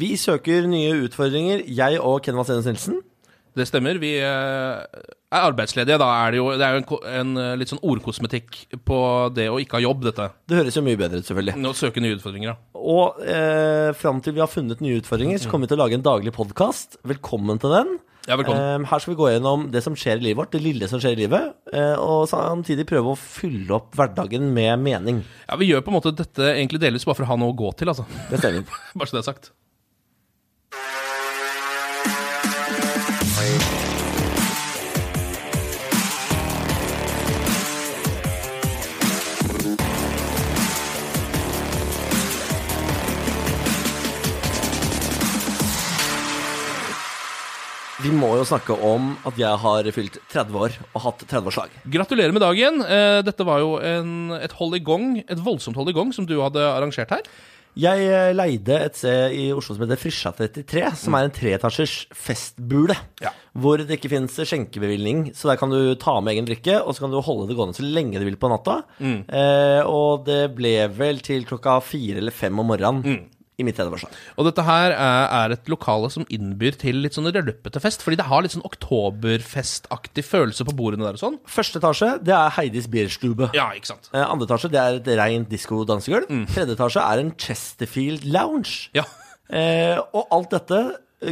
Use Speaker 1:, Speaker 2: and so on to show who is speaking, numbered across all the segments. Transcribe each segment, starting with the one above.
Speaker 1: Vi søker nye utfordringer, jeg og Ken Vasenus Nilsen.
Speaker 2: Det stemmer. Vi eh, er arbeidsledige. Da er det jo, det er jo en, ko- en eh, litt sånn ordkosmetikk på det å ikke ha jobb, dette.
Speaker 1: Det høres jo mye bedre ut, selvfølgelig.
Speaker 2: Å søke nye utfordringer, ja.
Speaker 1: Og eh, fram til vi har funnet nye utfordringer, så kommer vi til å lage en daglig podkast. Velkommen til den.
Speaker 2: Ja, velkommen.
Speaker 1: Eh, her skal vi gå gjennom det som skjer i livet vårt, det lille som skjer i livet, eh, og samtidig prøve å fylle opp hverdagen med mening.
Speaker 2: Ja, Vi gjør på en måte dette egentlig delvis bare for å ha noe å gå til, altså.
Speaker 1: Det stemmer.
Speaker 2: Bare så det er sagt.
Speaker 1: Vi må jo snakke om at jeg har fylt 30 år og hatt 30-årslag.
Speaker 2: Gratulerer med dagen. Eh, Dette var jo en, et hold i gang, et voldsomt hold i gang, som du hadde arrangert her.
Speaker 1: Jeg eh, leide et sted i Oslo som heter Frisja 33, som er en treetasjers festbule.
Speaker 2: Ja.
Speaker 1: Hvor det ikke fins skjenkebevilgning, så der kan du ta med egen drikke, og så kan du holde det gående så lenge du vil på natta.
Speaker 2: Mm.
Speaker 1: Eh, og det ble vel til klokka fire eller fem om morgenen
Speaker 2: Mm.
Speaker 1: i mitt 30-årslag.
Speaker 2: Og dette her er, er et lokale som innbyr til litt sånn rølpete fest, fordi det har litt sånn oktoberfestaktig følelse på bordene der og sånn.
Speaker 1: Første etasje, det er Heidis Bierstube.
Speaker 2: Ja, ikke sant.
Speaker 1: Eh, andre etasje, det er et reint disko-dansegulv. Tredje etasje er en Chesterfield Lounge.
Speaker 2: Ja.
Speaker 1: Eh, og alt dette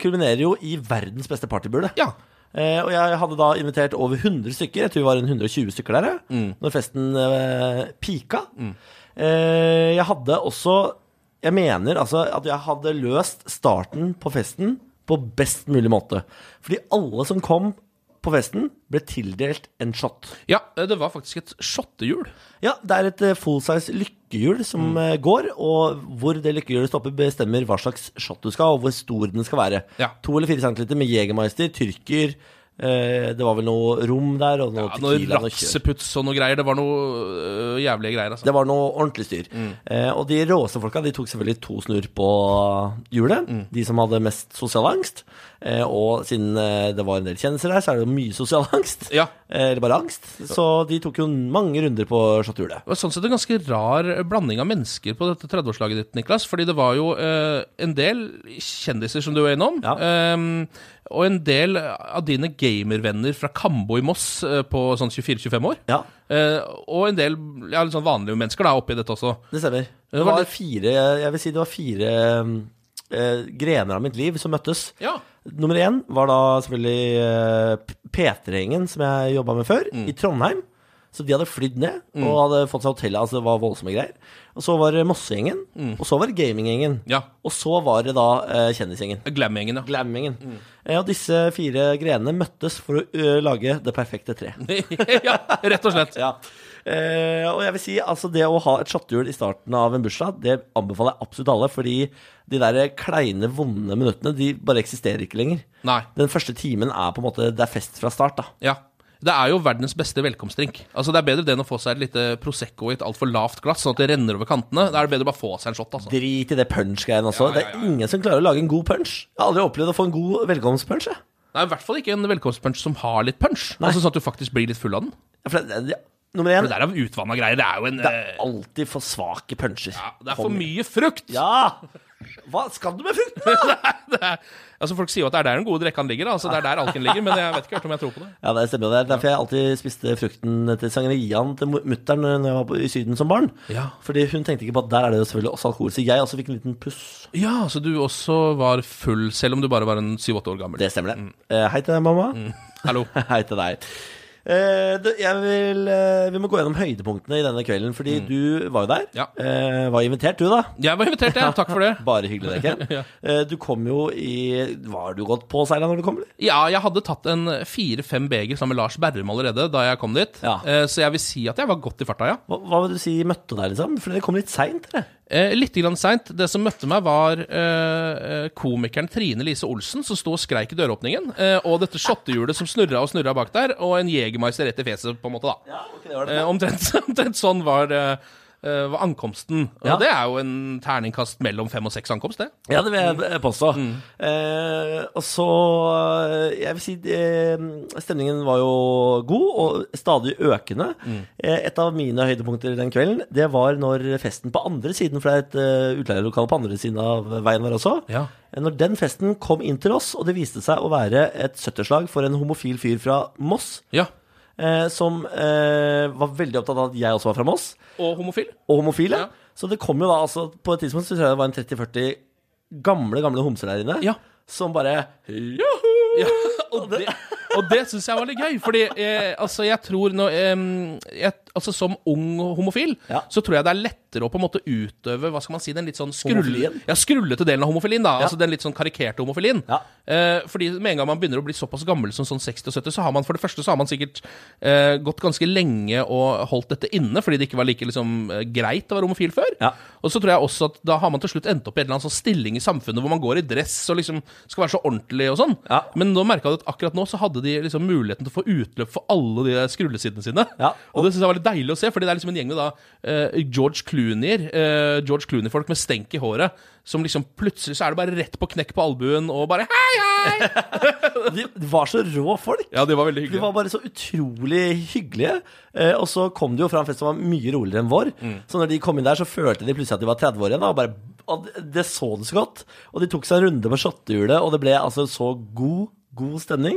Speaker 1: kulminerer jo i verdens beste partybule.
Speaker 2: ja.
Speaker 1: Eh, og jeg hadde da invitert over 100 stykker. Jeg tror vi var en 120 stykker der, jeg, når festen eh, pika. Eh, jeg hadde også Jeg mener altså at jeg hadde løst starten på festen på best mulig måte. Fordi alle som kom på festen, ble tildelt en shot.
Speaker 2: Ja, eh, det var faktisk et shottehjul.
Speaker 1: Ja, det er et eh, full size lykkehjul som
Speaker 2: Mm.
Speaker 1: eh, går, og hvor det lykkehjulet stopper, bestemmer hva slags shot du skal ha, og hvor stor den skal være.
Speaker 2: Ja.
Speaker 1: To eller fire centiliter med Jegermeister, tyrker eh, Det var vel noe rom der, og noe
Speaker 2: Ja, noe
Speaker 1: tequila. noe kjør.
Speaker 2: rapseputs og noe greier. Det var noe øh, jævlige greier, altså.
Speaker 1: Det var noe ordentlig styr.
Speaker 2: Mm.
Speaker 1: Eh, og de råeste folka de tok selvfølgelig to snurr på hjulet.
Speaker 2: Mm.
Speaker 1: De som hadde mest sosial angst. Eh, og siden eh, det var en del kjendiser der, så er det jo mye sosial angst.
Speaker 2: Ja.
Speaker 1: Eh, Eller bare angst. Så de tok jo mange runder på shot-hjulet.
Speaker 2: Det var sånn sett en ganske rar blanding av mennesker på dette 30-årslaget ditt, Niklas. Fordi det var jo eh, en del kjendiser som du var innom,
Speaker 1: Ja.
Speaker 2: ehm, og en del av dine gamervenner fra Kambo i Moss eh, på sånn 24-25 år.
Speaker 1: Ja,
Speaker 2: Eh, og en del ja, litt sånn vanlige mennesker da, oppi dette også.
Speaker 1: det stemmer. Det
Speaker 2: var
Speaker 1: var
Speaker 2: litt-
Speaker 1: fire Jeg vil si det var fire eh, grener av mitt liv som møttes.
Speaker 2: Ja,
Speaker 1: Nummer én var da selvfølgelig eh, P- P3-gjengen som jeg jobba med før,
Speaker 2: Mm.
Speaker 1: i Trondheim. Så de hadde flydd ned og hadde fått seg hotell. Altså det var voldsomme greier. Og så var det Mossegjengen, og så var det gaminggjengen.
Speaker 2: Mm. ja.
Speaker 1: Og så var det da eh, kjendisgjengen.
Speaker 2: Glam-gjengen, ja.
Speaker 1: Glammingen.
Speaker 2: Mm.
Speaker 1: Eh, og disse fire grenene møttes for å ø, lage det perfekte tre.
Speaker 2: ja, rett og slett.
Speaker 1: Ja. Eh, og jeg vil si, altså det å ha et shottehjul i starten av en bursdag, det anbefaler jeg absolutt alle, fordi de der kleine, vonde minuttene, de bare eksisterer ikke lenger.
Speaker 2: Nei.
Speaker 1: Den første timen er på en måte Det er fest fra start, da.
Speaker 2: Ja. Det er jo verdens beste velkomstdrink. Altså Det er bedre det enn å få seg et lite Prosecco i et altfor lavt glass, sånn at det renner over kantene. Da er det bedre å bare få seg en shot, altså.
Speaker 1: Drit i det punch-greien også.
Speaker 2: Ja, ja, ja, ja.
Speaker 1: Det er ingen som klarer å lage en god punch. Jeg har aldri opplevd å få en god velkomstpunch. jeg.
Speaker 2: Nei, I hvert fall ikke en velkomstpunch som har litt punch. Altså Sånn at du faktisk blir litt full av den.
Speaker 1: For det, det, nummer
Speaker 2: For
Speaker 1: én,
Speaker 2: det der er jo utvanna greier. Det er jo en
Speaker 1: det
Speaker 2: eh,
Speaker 1: er alltid for svake puncher.
Speaker 2: ja, Det er for mye frukt!
Speaker 1: Ja! Hva skal du med frukten, da?
Speaker 2: Det er, altså Folk sier jo at det er der den gode drekka ligger, da. Altså, det er der alken ligger, men jeg vet ikke helt om jeg tror på det.
Speaker 1: Ja, det stemmer. jo. Det er derfor jeg alltid spiste frukten til sangeriaen til mutter'n når jeg var på, i Syden som barn.
Speaker 2: Ja.
Speaker 1: Fordi hun tenkte ikke på at der er det jo selvfølgelig også alkohol. Så jeg også fikk en liten puss.
Speaker 2: Ja, så du også var full, selv om du bare var en 7-8 år gammel.
Speaker 1: Det stemmer, det. Eh, hei til deg, mamma.
Speaker 2: Hallo.
Speaker 1: Hei til deg. Eh, det- jeg vil, eh, vi må gå gjennom høydepunktene i denne kvelden, fordi du var jo der.
Speaker 2: Ja.
Speaker 1: Eh, var invitert, du, da.
Speaker 2: Jeg var invitert, jeg. Takk for det.
Speaker 1: Bare hyggelig, det, Ken. eh, du kom jo i Var du godt påseila når du kom, eller?
Speaker 2: Ja, jeg hadde tatt en fire-fem beger sammen med Lars Berrum allerede da jeg kom dit.
Speaker 1: Ja.
Speaker 2: Eh, Så jeg vil si at jeg var godt i farta, ja.
Speaker 1: Hva, hva vil du si møtte deg, liksom? For dere kom litt seint, dere.
Speaker 2: Eh, Litt grann seint. Det som møtte meg, var eh, eh, komikeren Trine Lise Olsen som sto og skreik i døråpningen, eh, og dette shottehjulet som snurra og snurra bak der, og en Jegermeister rett i fjeset, på en måte, da.
Speaker 1: Ja, okay, det var
Speaker 2: Eh, Omtrent, omtrent sånn var eh, eh, var ankomsten. Og
Speaker 1: Ja.
Speaker 2: det er jo en terningkast mellom fem og seks ankomst, det.
Speaker 1: Ja, det vil jeg påstå. Eh, og så eh, Jeg vil si eh, stemningen var jo god, og stadig økende. Eh, et av mine høydepunkter den kvelden, det var når festen på andre siden, for det er et eh, utleierlokale på andre siden av veien vår også,
Speaker 2: Ja.
Speaker 1: eh, når den festen kom inn til oss, og det viste seg å være et 70-slag for en homofil fyr fra Moss,
Speaker 2: Ja.
Speaker 1: eh, som eh, var veldig opptatt av at jeg også var fra Moss
Speaker 2: Og homofil.
Speaker 1: og homofile.
Speaker 2: Ja.
Speaker 1: Så det kom jo da altså På et tidspunkt så tror jeg det var en 30-40 gamle, gamle homser der inne
Speaker 2: Ja.
Speaker 1: som bare Joho!
Speaker 2: Ja, og det, og det syns jeg var litt gøy, fordi eh, altså, jeg tror nå eh, jeg, Altså, som ung homofil,
Speaker 1: Ja.
Speaker 2: så tror jeg det er lettere å på en måte utøve Hva skal man si, den litt sånn skrulle,
Speaker 1: Homofilien?
Speaker 2: ja, skrullete delen av homofilien, da.
Speaker 1: Ja.
Speaker 2: Altså den litt sånn karikerte homofilien.
Speaker 1: Ja.
Speaker 2: Eh, fordi med en gang man begynner å bli såpass gammel som sånn 60 og 70, så har man for det første så har man sikkert eh, gått ganske lenge og holdt dette inne, fordi det ikke var like liksom, eh, greit å være homofil før.
Speaker 1: Ja.
Speaker 2: Og så tror jeg også at da har man til slutt endt opp i en eller annen sånn stilling i samfunnet hvor man går i dress og liksom skal være så ordentlig og sånn.
Speaker 1: Ja.
Speaker 2: Men nå merka du at akkurat nå så hadde de liksom muligheten til å få utløp for alle de der skrullesidene sine.
Speaker 1: Ja.
Speaker 2: Og, det syns jeg var litt deilig å se, fordi det er liksom en gjeng med da eh, George Clooney-er, eh, George Clooney-folk med stenk i håret, som liksom plutselig så er det bare rett på knekk på albuen og bare hei, hei!
Speaker 1: De var så rå folk.
Speaker 2: Ja, de var
Speaker 1: De
Speaker 2: veldig hyggelige.
Speaker 1: var bare så utrolig hyggelige. Eh, og så kom de jo fra en fest som var mye roligere enn vår. Så når de kom inn der, så følte de plutselig at de var 30 år igjen. da, Og bare, og det så det så godt. Og de tok seg en runde på shottehjulet, og det ble altså så god God stemning.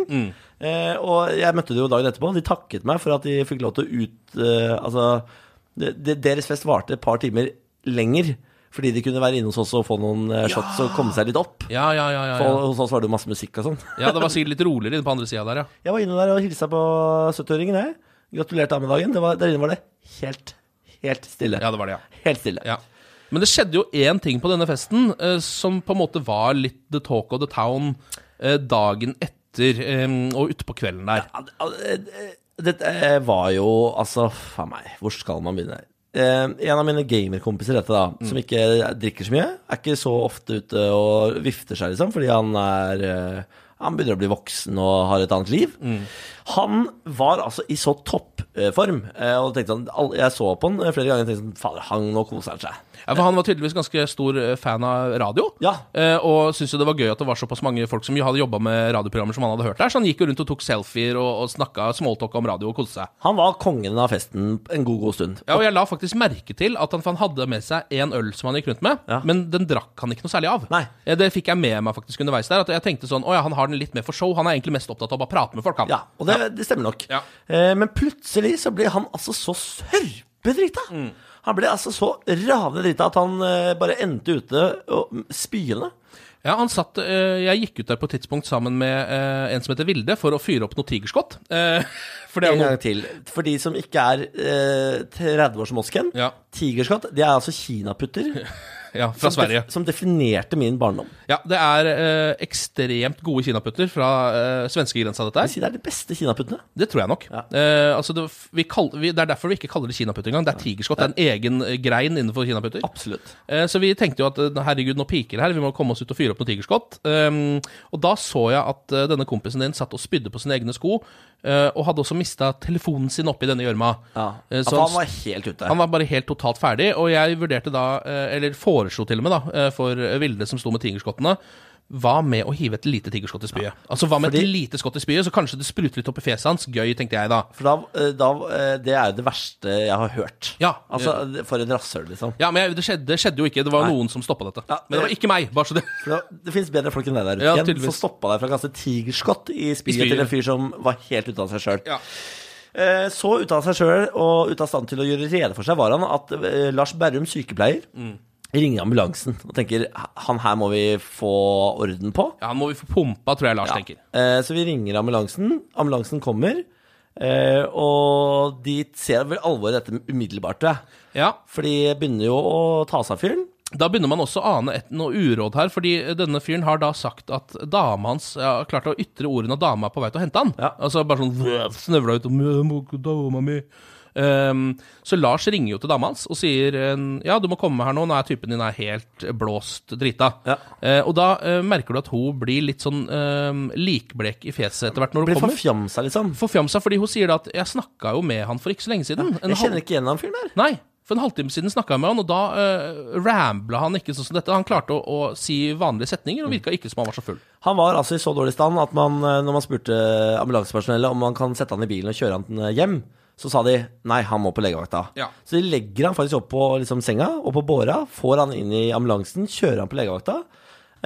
Speaker 1: Eh, og jeg møtte dem jo dagen etterpå, og de takket meg for at de fikk lov til å ut eh, Altså, det, det, deres fest varte et par timer lenger, fordi de kunne være inne hos oss og få noen eh, shots og komme seg litt opp.
Speaker 2: Ja, ja, ja. ja,
Speaker 1: Og
Speaker 2: ja.
Speaker 1: hos oss var det jo masse musikk og sånn.
Speaker 2: ja det var sikkert litt roligere på andre sida der, ja.
Speaker 1: Jeg var inne der og hilsa på 70-åringen, jeg. Gratulerte ham med dagen. Det var, der inne var det helt, helt stille.
Speaker 2: Ja, det var det, ja.
Speaker 1: Helt stille.
Speaker 2: Ja. Men det skjedde jo én ting på denne festen eh, som på en måte var litt the talk of the town eh, dagen etter eh, og ute på kvelden der.
Speaker 1: Ja, det- al- eh, Dette eh, var jo Altså, faen meg, hvor skal man begynne? Eh, en av mine gamerkompiser, dette da,
Speaker 2: Mm.
Speaker 1: som ikke drikker så mye, er ikke så ofte ute og vifter seg, liksom, fordi han er eh, han begynner å bli voksen og har et annet liv.
Speaker 2: Mm.
Speaker 1: Han var altså i så toppform. Eh, og tenkte sånn, all- jeg så på han eh, flere ganger og tenkte sånn Fader, han, nå koser han seg.
Speaker 2: Ja, for han var tydeligvis ganske stor eh, fan av radio,
Speaker 1: Ja.
Speaker 2: eh, og syntes jo det var gøy at det var såpass mange folk som jo hadde jobba med radioprogrammer som han hadde hørt der, så han gikk jo rundt og tok selfier og, og snakka smalltalka om radio og koste seg.
Speaker 1: Han var kongen av festen en god, god stund.
Speaker 2: Ja, og jeg la faktisk merke til at han, for han hadde med seg en øl som han gikk rundt med,
Speaker 1: Ja.
Speaker 2: men den drakk han ikke noe særlig av.
Speaker 1: Nei.
Speaker 2: Eh, Det fikk jeg med meg faktisk underveis der, at jeg tenkte sånn, åja, han har den litt mer for show, han er egentlig mest opptatt av å bare prate med folk, han.
Speaker 1: Ja, og det, det stemmer nok.
Speaker 2: Ja.
Speaker 1: Eh, men plutselig så ble han altså så sørpedrita.
Speaker 2: Mm.
Speaker 1: Han ble altså så ravende drita at han eh, bare endte ute og, spyende.
Speaker 2: Ja, han satt, eh, Jeg gikk ut der på et tidspunkt sammen med eh, en som heter Vilde, for å fyre opp noe tigerskott. Eh, for det er
Speaker 1: En
Speaker 2: jo
Speaker 1: gang
Speaker 2: noe
Speaker 1: til. For de som ikke er eh, 30 år som oss, Ken.
Speaker 2: Ja.
Speaker 1: Tigerskatt. Det er altså kinaputter.
Speaker 2: ja, fra
Speaker 1: som,
Speaker 2: Sverige.
Speaker 1: def- som definerte min barndom.
Speaker 2: Ja, Det er eh, ekstremt gode kinaputter fra eh, svenskegrensa, dette
Speaker 1: Jeg vil
Speaker 2: her.
Speaker 1: Si det er de beste kinaputtene.
Speaker 2: Det tror jeg nok.
Speaker 1: Ja.
Speaker 2: Eh, altså det, vi kall, vi, det er derfor vi ikke kaller det kinaputt engang. Det er tigerskott. Det er en egen eh, grein innenfor kinaputter.
Speaker 1: Absolutt.
Speaker 2: Eh, Så vi tenkte jo at eh, herregud, nå piker det her, vi må komme oss ut og fyre opp noen tigerskott. Um, og da så jeg at eh, denne kompisen din satt og spydde på sine egne sko, eh, og hadde også mista telefonen sin oppi denne gjørma.
Speaker 1: Ja.
Speaker 2: Eh,
Speaker 1: At
Speaker 2: Så
Speaker 1: han
Speaker 2: han,
Speaker 1: var helt ute.
Speaker 2: han var bare helt totalt ferdig, og jeg vurderte da, eh, eller foreslo til og med da, eh, for Vilde som sto med tigerskottene, hva med å hive et lite tigerskott i spyet? Altså hva med
Speaker 1: Fordi-
Speaker 2: et lite skott i spyet, så kanskje det spruter litt opp i fjeset hans? Gøy, tenkte jeg da.
Speaker 1: For da, eh, da eh, Det er jo det verste jeg har hørt.
Speaker 2: Ja.
Speaker 1: Altså, for et rasshøl, liksom.
Speaker 2: Ja, men jeg- det skjedde, det skjedde jo ikke, det var
Speaker 1: Nei.
Speaker 2: noen som stoppa dette.
Speaker 1: Ja,
Speaker 2: Men det var ikke meg, bare så det
Speaker 1: For det, det finnes bedre folk enn deg der ute.
Speaker 2: Ja,
Speaker 1: Ken,
Speaker 2: tydeligvis.
Speaker 1: som stoppa deg fra å kaste tigerskott i spyet
Speaker 2: spyet.
Speaker 1: til en fyr som var helt ute av seg sjøl.
Speaker 2: Ja.
Speaker 1: Eh, så ute av seg sjøl og ute av stand til å gjøre rede for seg var han at eh, Lars Berrum, sykepleier,
Speaker 2: Mm.
Speaker 1: ringer ambulansen og tenker han her må vi få orden på.
Speaker 2: Ja, han må vi få pumpa, tror jeg Lars tenker.
Speaker 1: Eh, så vi ringer ambulansen. Ambulansen kommer. Eh, og de ser vel alvoret i dette umiddelbart, tror jeg.
Speaker 2: Ja,
Speaker 1: For de begynner jo å ta seg av fyren.
Speaker 2: Da begynner man også å ane et, noe uråd her, fordi denne fyren har da sagt at dama hans ja, klarte å ytre ordene at dama er på vei til å hente han.
Speaker 1: Ja.
Speaker 2: Altså bare sånn snøvla ut om «Jeg må ikke dama mi. Ehm, så Lars ringer jo til dama hans og sier eh, ja, du må komme her nå, nå er typen din er helt blåst drita.
Speaker 1: Ja.
Speaker 2: Eh, og da eh, merker du at hun blir litt sånn eh, likblek i fjeset etter hvert når hun
Speaker 1: Blir
Speaker 2: kommer.
Speaker 1: forfjamsa, liksom.
Speaker 2: Forfjamsa, fordi hun sier da at jeg snakka jo med han for ikke så lenge siden. En
Speaker 1: Jeg
Speaker 2: halv-
Speaker 1: kjenner ikke igjen han fyren der.
Speaker 2: Nei, For en halvtime siden snakka jeg med han, og da uh, rambla han ikke sånn som dette. Han klarte å, å si vanlige setninger, og virka ikke som han var så full.
Speaker 1: Han var altså i så dårlig stand at man, eh, når man spurte ambulansepersonellet om man kan sette han i bilen og kjøre han eh, hjem, så sa de nei, han må på legevakta.
Speaker 2: Ja.
Speaker 1: Så de legger han faktisk opp på liksom, senga og på båra, får han inn i ambulansen, kjører han på legevakta.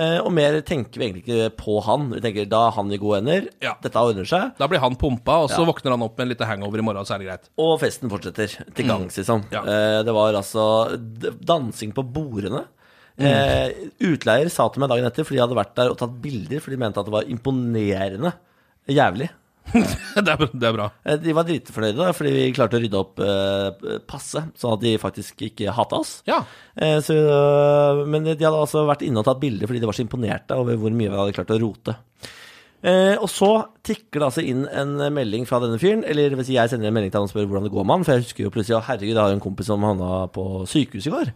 Speaker 1: eh, Og mer tenker vi egentlig ikke på han. Vi tenker da er han i gode hender,
Speaker 2: Ja.
Speaker 1: dette ordner seg,
Speaker 2: Da blir han pumpa, og så våkner han opp med en liten hangover i morgen, så er det greit.
Speaker 1: og festen fortsetter til gangs, liksom.
Speaker 2: Mm. Ja.
Speaker 1: Eh, Det var altså d- dansing på bordene.
Speaker 2: Mm.
Speaker 1: Eh, utleier sa til meg dagen etter, for de hadde vært der og tatt bilder, for de mente at det var imponerende jævlig.
Speaker 2: det, er, bra- det er bra.
Speaker 1: Eh, De var dritfornøyde da, fordi vi klarte å rydde opp eh, passe, sånn at de faktisk ikke hata oss.
Speaker 2: Ja.
Speaker 1: Eh, så, men de hadde altså vært inne og tatt bilder fordi de var så imponerte over hvor mye vi hadde klart å rote. Eh, og så tikker det altså inn en melding fra denne fyren. Eller det vil si jeg sender en melding til han og spør hvordan det går med han. For jeg husker jo plutselig at herregud, jeg har jo en kompis som havna på sykehus i går.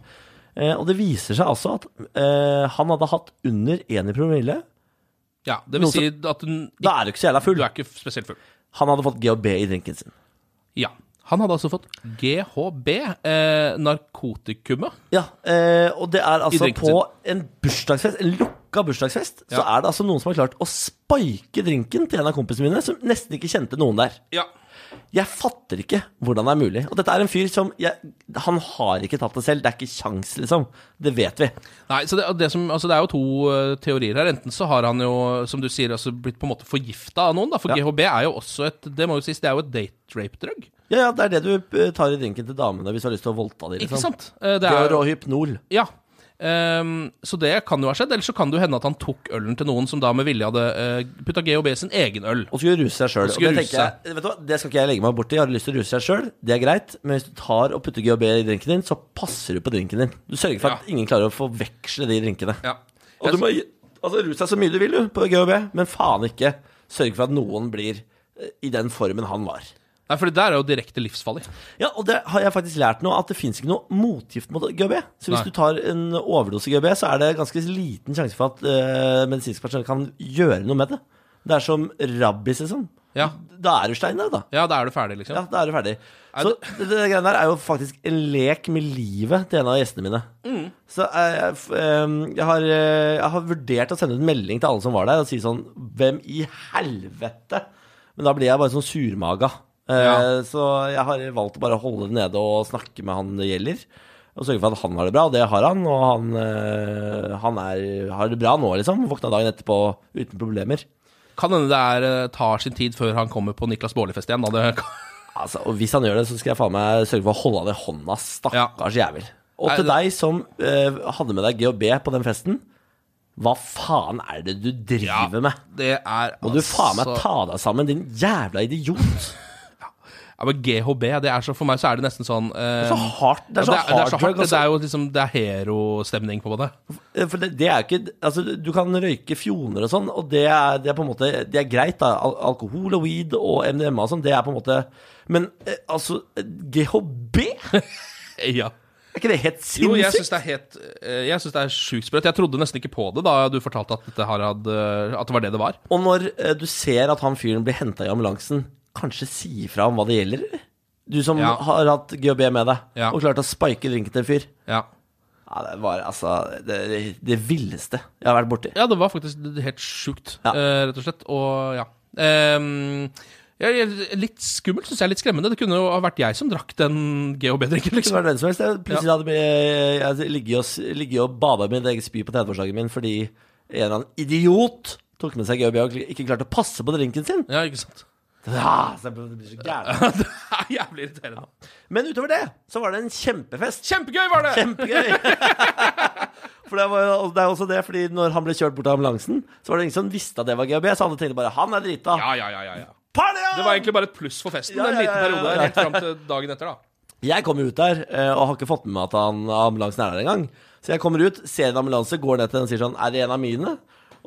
Speaker 1: Eh, og det viser seg altså at eh, han hadde hatt under én i promille.
Speaker 2: ja. Det
Speaker 1: Noe
Speaker 2: vil si at hun
Speaker 1: Da er du ikke så jævla
Speaker 2: Du
Speaker 1: full.
Speaker 2: er ikke spesielt full.
Speaker 1: Han hadde fått GHB i drinken sin.
Speaker 2: Ja. Han hadde altså fått GHB, eh, narkotikummet.
Speaker 1: Ja, eh, og det er altså
Speaker 2: drinken
Speaker 1: på en bursdagsfest, en lukka bursdagsfest, så
Speaker 2: Ja.
Speaker 1: er det altså noen som har klart å spike drinken til en av kompisene mine, som nesten ikke kjente noen der.
Speaker 2: Ja.
Speaker 1: Jeg fatter ikke hvordan det er mulig. Og dette er en fyr som jeg, Han har ikke tatt det selv. Det er ikke kjangs, liksom. Det vet vi.
Speaker 2: Nei, så det, det, som, altså det er jo to eh, teorier her. Enten så har han jo, som du sier, altså blitt på en måte forgifta av noen, da. For
Speaker 1: Ja.
Speaker 2: GHB er jo også et Det må jo sies, det er jo et date rape-drug.
Speaker 1: Ja, ja, det er det du eh, tar i drinken til damene hvis du har lyst til å voldta dem.
Speaker 2: Ikke
Speaker 1: Liksom.
Speaker 2: sant? Eh, Det er,
Speaker 1: Gør og hypnol.
Speaker 2: ja. Ehm, så det kan jo ha skjedd. Eller så kan det jo hende at han tok ølen til noen som da med vilje hadde uh, putta GHB i sin egen øl.
Speaker 1: Og skulle ruse seg sjøl.
Speaker 2: skulle
Speaker 1: Det,
Speaker 2: ruse
Speaker 1: tenker jeg- vet du hva, det skal ikke jeg legge meg borti. Har du lyst til å ruse deg sjøl, det er greit. Men hvis du tar og putter GHB i drinken din, så passer du på drinken din. Du sørger for at
Speaker 2: Ja.
Speaker 1: ingen klarer å forveksle de drinkene.
Speaker 2: Ja.
Speaker 1: Og du må gi- altså, ruse deg så mye du vil du, på GHB, men faen ikke sørg for at noen blir eh, i den formen han var.
Speaker 2: Nei, for det der er jo direkte livsfarlig.
Speaker 1: Ja, og det har jeg faktisk lært nå, at det fins ikke noe motgift mot GHB. Så hvis
Speaker 2: Nei.
Speaker 1: du tar en overdose GHB, så er det ganske liten sjanse for at eh, medisinsk personell kan gjøre noe med det. Det er som rabbis, liksom.
Speaker 2: Ja.
Speaker 1: Da er du stein der, da.
Speaker 2: Ja, da er du ferdig, liksom.
Speaker 1: Ja, da er du ferdig. Så det, det greiene der er jo faktisk en lek med livet til en av gjestene mine. Så eh, jeg, f- em, jeg, har, eh, jeg har vurdert å sende ut melding til alle som var der, og si sånn Hvem i helvete? Men da blir jeg bare sånn surmaga. Eh,
Speaker 2: Ja.
Speaker 1: Så jeg har valgt å bare holde det nede og snakke med han det gjelder. Og sørge for at han har det bra, og det har han. Og han, eh, han er, har det bra nå, liksom. Våkna dagen etterpå uten problemer.
Speaker 2: Kan hende det er, eh, tar sin tid før han kommer på Niklas Baarli-fest igjen. Da. Det,
Speaker 1: Altså, og Hvis han gjør det, så skal jeg faen meg sørge for å holde han i hånda. Stakkars jævel. Og
Speaker 2: Nei,
Speaker 1: til
Speaker 2: det-
Speaker 1: deg som eh, hadde med deg GHB på den festen, hva faen er det du driver med?
Speaker 2: det er altså-
Speaker 1: Må du faen meg ta deg sammen, din jævla idiot?
Speaker 2: Ja, men GHB, det er så, for meg så er det nesten sånn eh,
Speaker 1: Så hardt. Det er så
Speaker 2: Ja, det er, det er
Speaker 1: hard
Speaker 2: så hardt.
Speaker 1: drug.
Speaker 2: Det, det
Speaker 1: Altså.
Speaker 2: er jo liksom Det er herostemning på det.
Speaker 1: Eh, For det, det er jo ikke Altså, du kan røyke fjoner og sånn, og det er, det er på en måte Det er greit, da. Al alkohol og weed og MDMA og sånn, det er på en måte Men eh, altså, eh, GHB? Er
Speaker 2: Ja.
Speaker 1: ikke det helt
Speaker 2: Jo, jeg
Speaker 1: sinnssykt?
Speaker 2: syns det er helt eh, Jeg synes det er sjukt sprøtt. Jeg trodde nesten ikke på det da du fortalte at, dette her hadde, at det var det det var.
Speaker 1: Og når eh, du ser at han fyren blir henta i ambulansen, kanskje si fra om hva det gjelder? eller? Du som
Speaker 2: Ja.
Speaker 1: har hatt GHB med deg,
Speaker 2: Ja.
Speaker 1: og klart å spike drinken til en fyr.
Speaker 2: Ja.
Speaker 1: Ja, det var altså det, det villeste jeg har vært borti.
Speaker 2: ja, det var faktisk helt sjukt,
Speaker 1: Ja.
Speaker 2: eh, rett og slett. Og ja. Ehm, ja, ja, litt skummelt, syns jeg. Litt skremmende. Det kunne jo ha vært jeg som drakk den GHB-drinken,
Speaker 1: Det
Speaker 2: liksom.
Speaker 1: kunne vært hvem som helst. Jeg Plutselig hadde jeg, jeg ligget og, s- ligget og bada i mitt eget spy på 30-årsdagen min fordi en eller annen idiot tok med seg GHB og ikke klarte å passe på drinken sin.
Speaker 2: Ja, ikke sant.
Speaker 1: Ja, så jeg blir så gæren.
Speaker 2: det er jævlig irriterende.
Speaker 1: Men utover det så var det en kjempefest.
Speaker 2: Kjempegøy var det!
Speaker 1: Kjempegøy! For det, var, jo- det er også det, fordi når han ble kjørt bort av ambulansen, så var det ingen som visste at det var GHB, så alle tenkte bare 'han er drita'.
Speaker 2: Ja, ja, ja, ja, ja.
Speaker 1: Party on!
Speaker 2: Det var egentlig bare et pluss for festen.
Speaker 1: Ja, ja,
Speaker 2: En liten
Speaker 1: ja, ja,
Speaker 2: periode
Speaker 1: ja.
Speaker 2: helt fram til dagen etter, da.
Speaker 1: Jeg kom jo ut der, eh, og har ikke fått med meg at han, ambulansen er der engang. Så jeg kommer ut, ser en ambulanse, går ned til den og sier sånn 'er det en av mine?'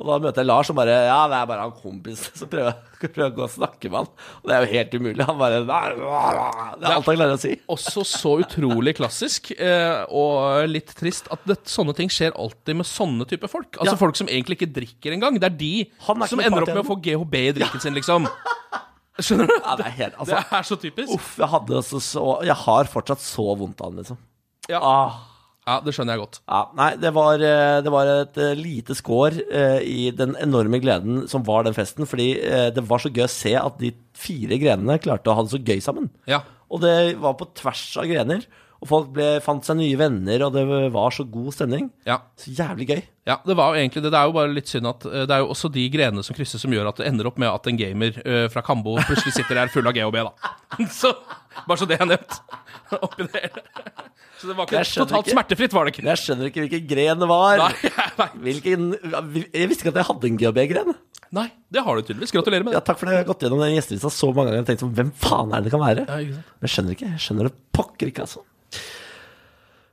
Speaker 1: Og da møter jeg Lars som bare 'ja, det er bare han kompisen'. Så prøver jeg, prøver jeg å gå og snakke med han, og det er jo helt umulig. Han bare «Nei, bla, bla». Det er alt han klarer å si.
Speaker 2: Også så utrolig klassisk, eh, og litt trist, at det, sånne ting skjer alltid med sånne type folk. Altså
Speaker 1: Ja.
Speaker 2: folk som egentlig ikke drikker engang. Det er de
Speaker 1: Han er
Speaker 2: som
Speaker 1: ikke
Speaker 2: ender opp
Speaker 1: party
Speaker 2: med å få GHB i drinken sin, liksom. Skjønner du?
Speaker 1: Ja, det er helt, altså,
Speaker 2: Det er så typisk.
Speaker 1: Uff, jeg hadde altså så Jeg har fortsatt så vondt av han, liksom.
Speaker 2: Ja.
Speaker 1: Ah.
Speaker 2: Ja, det skjønner jeg godt.
Speaker 1: Ja, nei, det var, eh, det var et eh, lite skår eh, i den enorme gleden som var den festen, fordi eh, det var så gøy å se at de fire grenene klarte å ha det så gøy sammen.
Speaker 2: Ja.
Speaker 1: Og det var på tvers av grener, og folk ble, fant seg nye venner, og det var så god stemning.
Speaker 2: Ja.
Speaker 1: Så jævlig gøy.
Speaker 2: Ja, det var jo egentlig det. Det er jo bare litt synd at eh, det er jo også de grenene som krysses, som gjør at det ender opp med at en gamer eh, fra Kambo plutselig sitter der full av GHB, da. Så bare så det er nevnt. Oppi det hele. Så det var ikke
Speaker 1: Jeg skjønner
Speaker 2: totalt
Speaker 1: ikke.
Speaker 2: smertefritt, var det
Speaker 1: Men
Speaker 2: ikke?
Speaker 1: Jeg skjønner ikke hvilken gren det var.
Speaker 2: Nei, jeg vet.
Speaker 1: Hvilken, jeg visste ikke at jeg hadde en GHB-gren.
Speaker 2: Nei, det har du tydeligvis. Gratulerer med
Speaker 1: Ja,
Speaker 2: det.
Speaker 1: takk for det. Jeg har gått gjennom den gjestelista så mange ganger og tenkt sånn, hvem faen er det det kan være?
Speaker 2: Ja, ikke sant?
Speaker 1: Men jeg skjønner ikke. Jeg skjønner det pokker ikke, altså.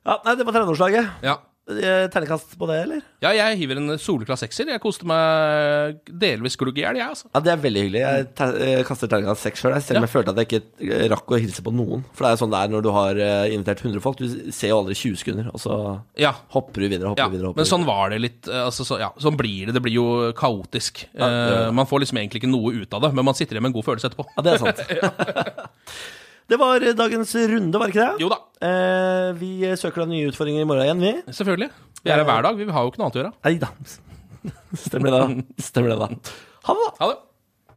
Speaker 1: Ja, nei, det var 30-årslaget.
Speaker 2: Ja.
Speaker 1: Eh, Ternekast på det, eller?
Speaker 2: ja, jeg hiver en soleklar sekser. Jeg koste meg delvis glugg i hjel, jeg, altså.
Speaker 1: Ja, det er veldig hyggelig. Jeg ter eh, kaster terningkast seks sjøl, selv om jeg følte at jeg ikke eh, rakk å hilse på noen. For det er jo sånn det er når du har eh, invitert 100 folk. Du ser jo aldri 20 sekunder, og så
Speaker 2: Ja.
Speaker 1: hopper du videre, hopper
Speaker 2: Ja,
Speaker 1: du videre. Hopper
Speaker 2: men
Speaker 1: du
Speaker 2: sånn var det litt. eh, Altså, så, ja, sånn blir det. Det blir jo kaotisk.
Speaker 1: det gjør
Speaker 2: Eh, man får liksom egentlig ikke noe ut av det, men man sitter igjen med en god følelse etterpå.
Speaker 1: videre. Ja, det er sant. det var eh, dagens runde, var det ikke det?
Speaker 2: Jo da,
Speaker 1: Eh, vi eh, søker da nye utfordringer i morgen igjen, vi.
Speaker 2: Selvfølgelig. Vi er her hver dag. Vi har jo ikke noe annet å gjøre.
Speaker 1: Nei da. Stemmer det, da. Stemmer det, da. Ha det, da.
Speaker 2: Ha det.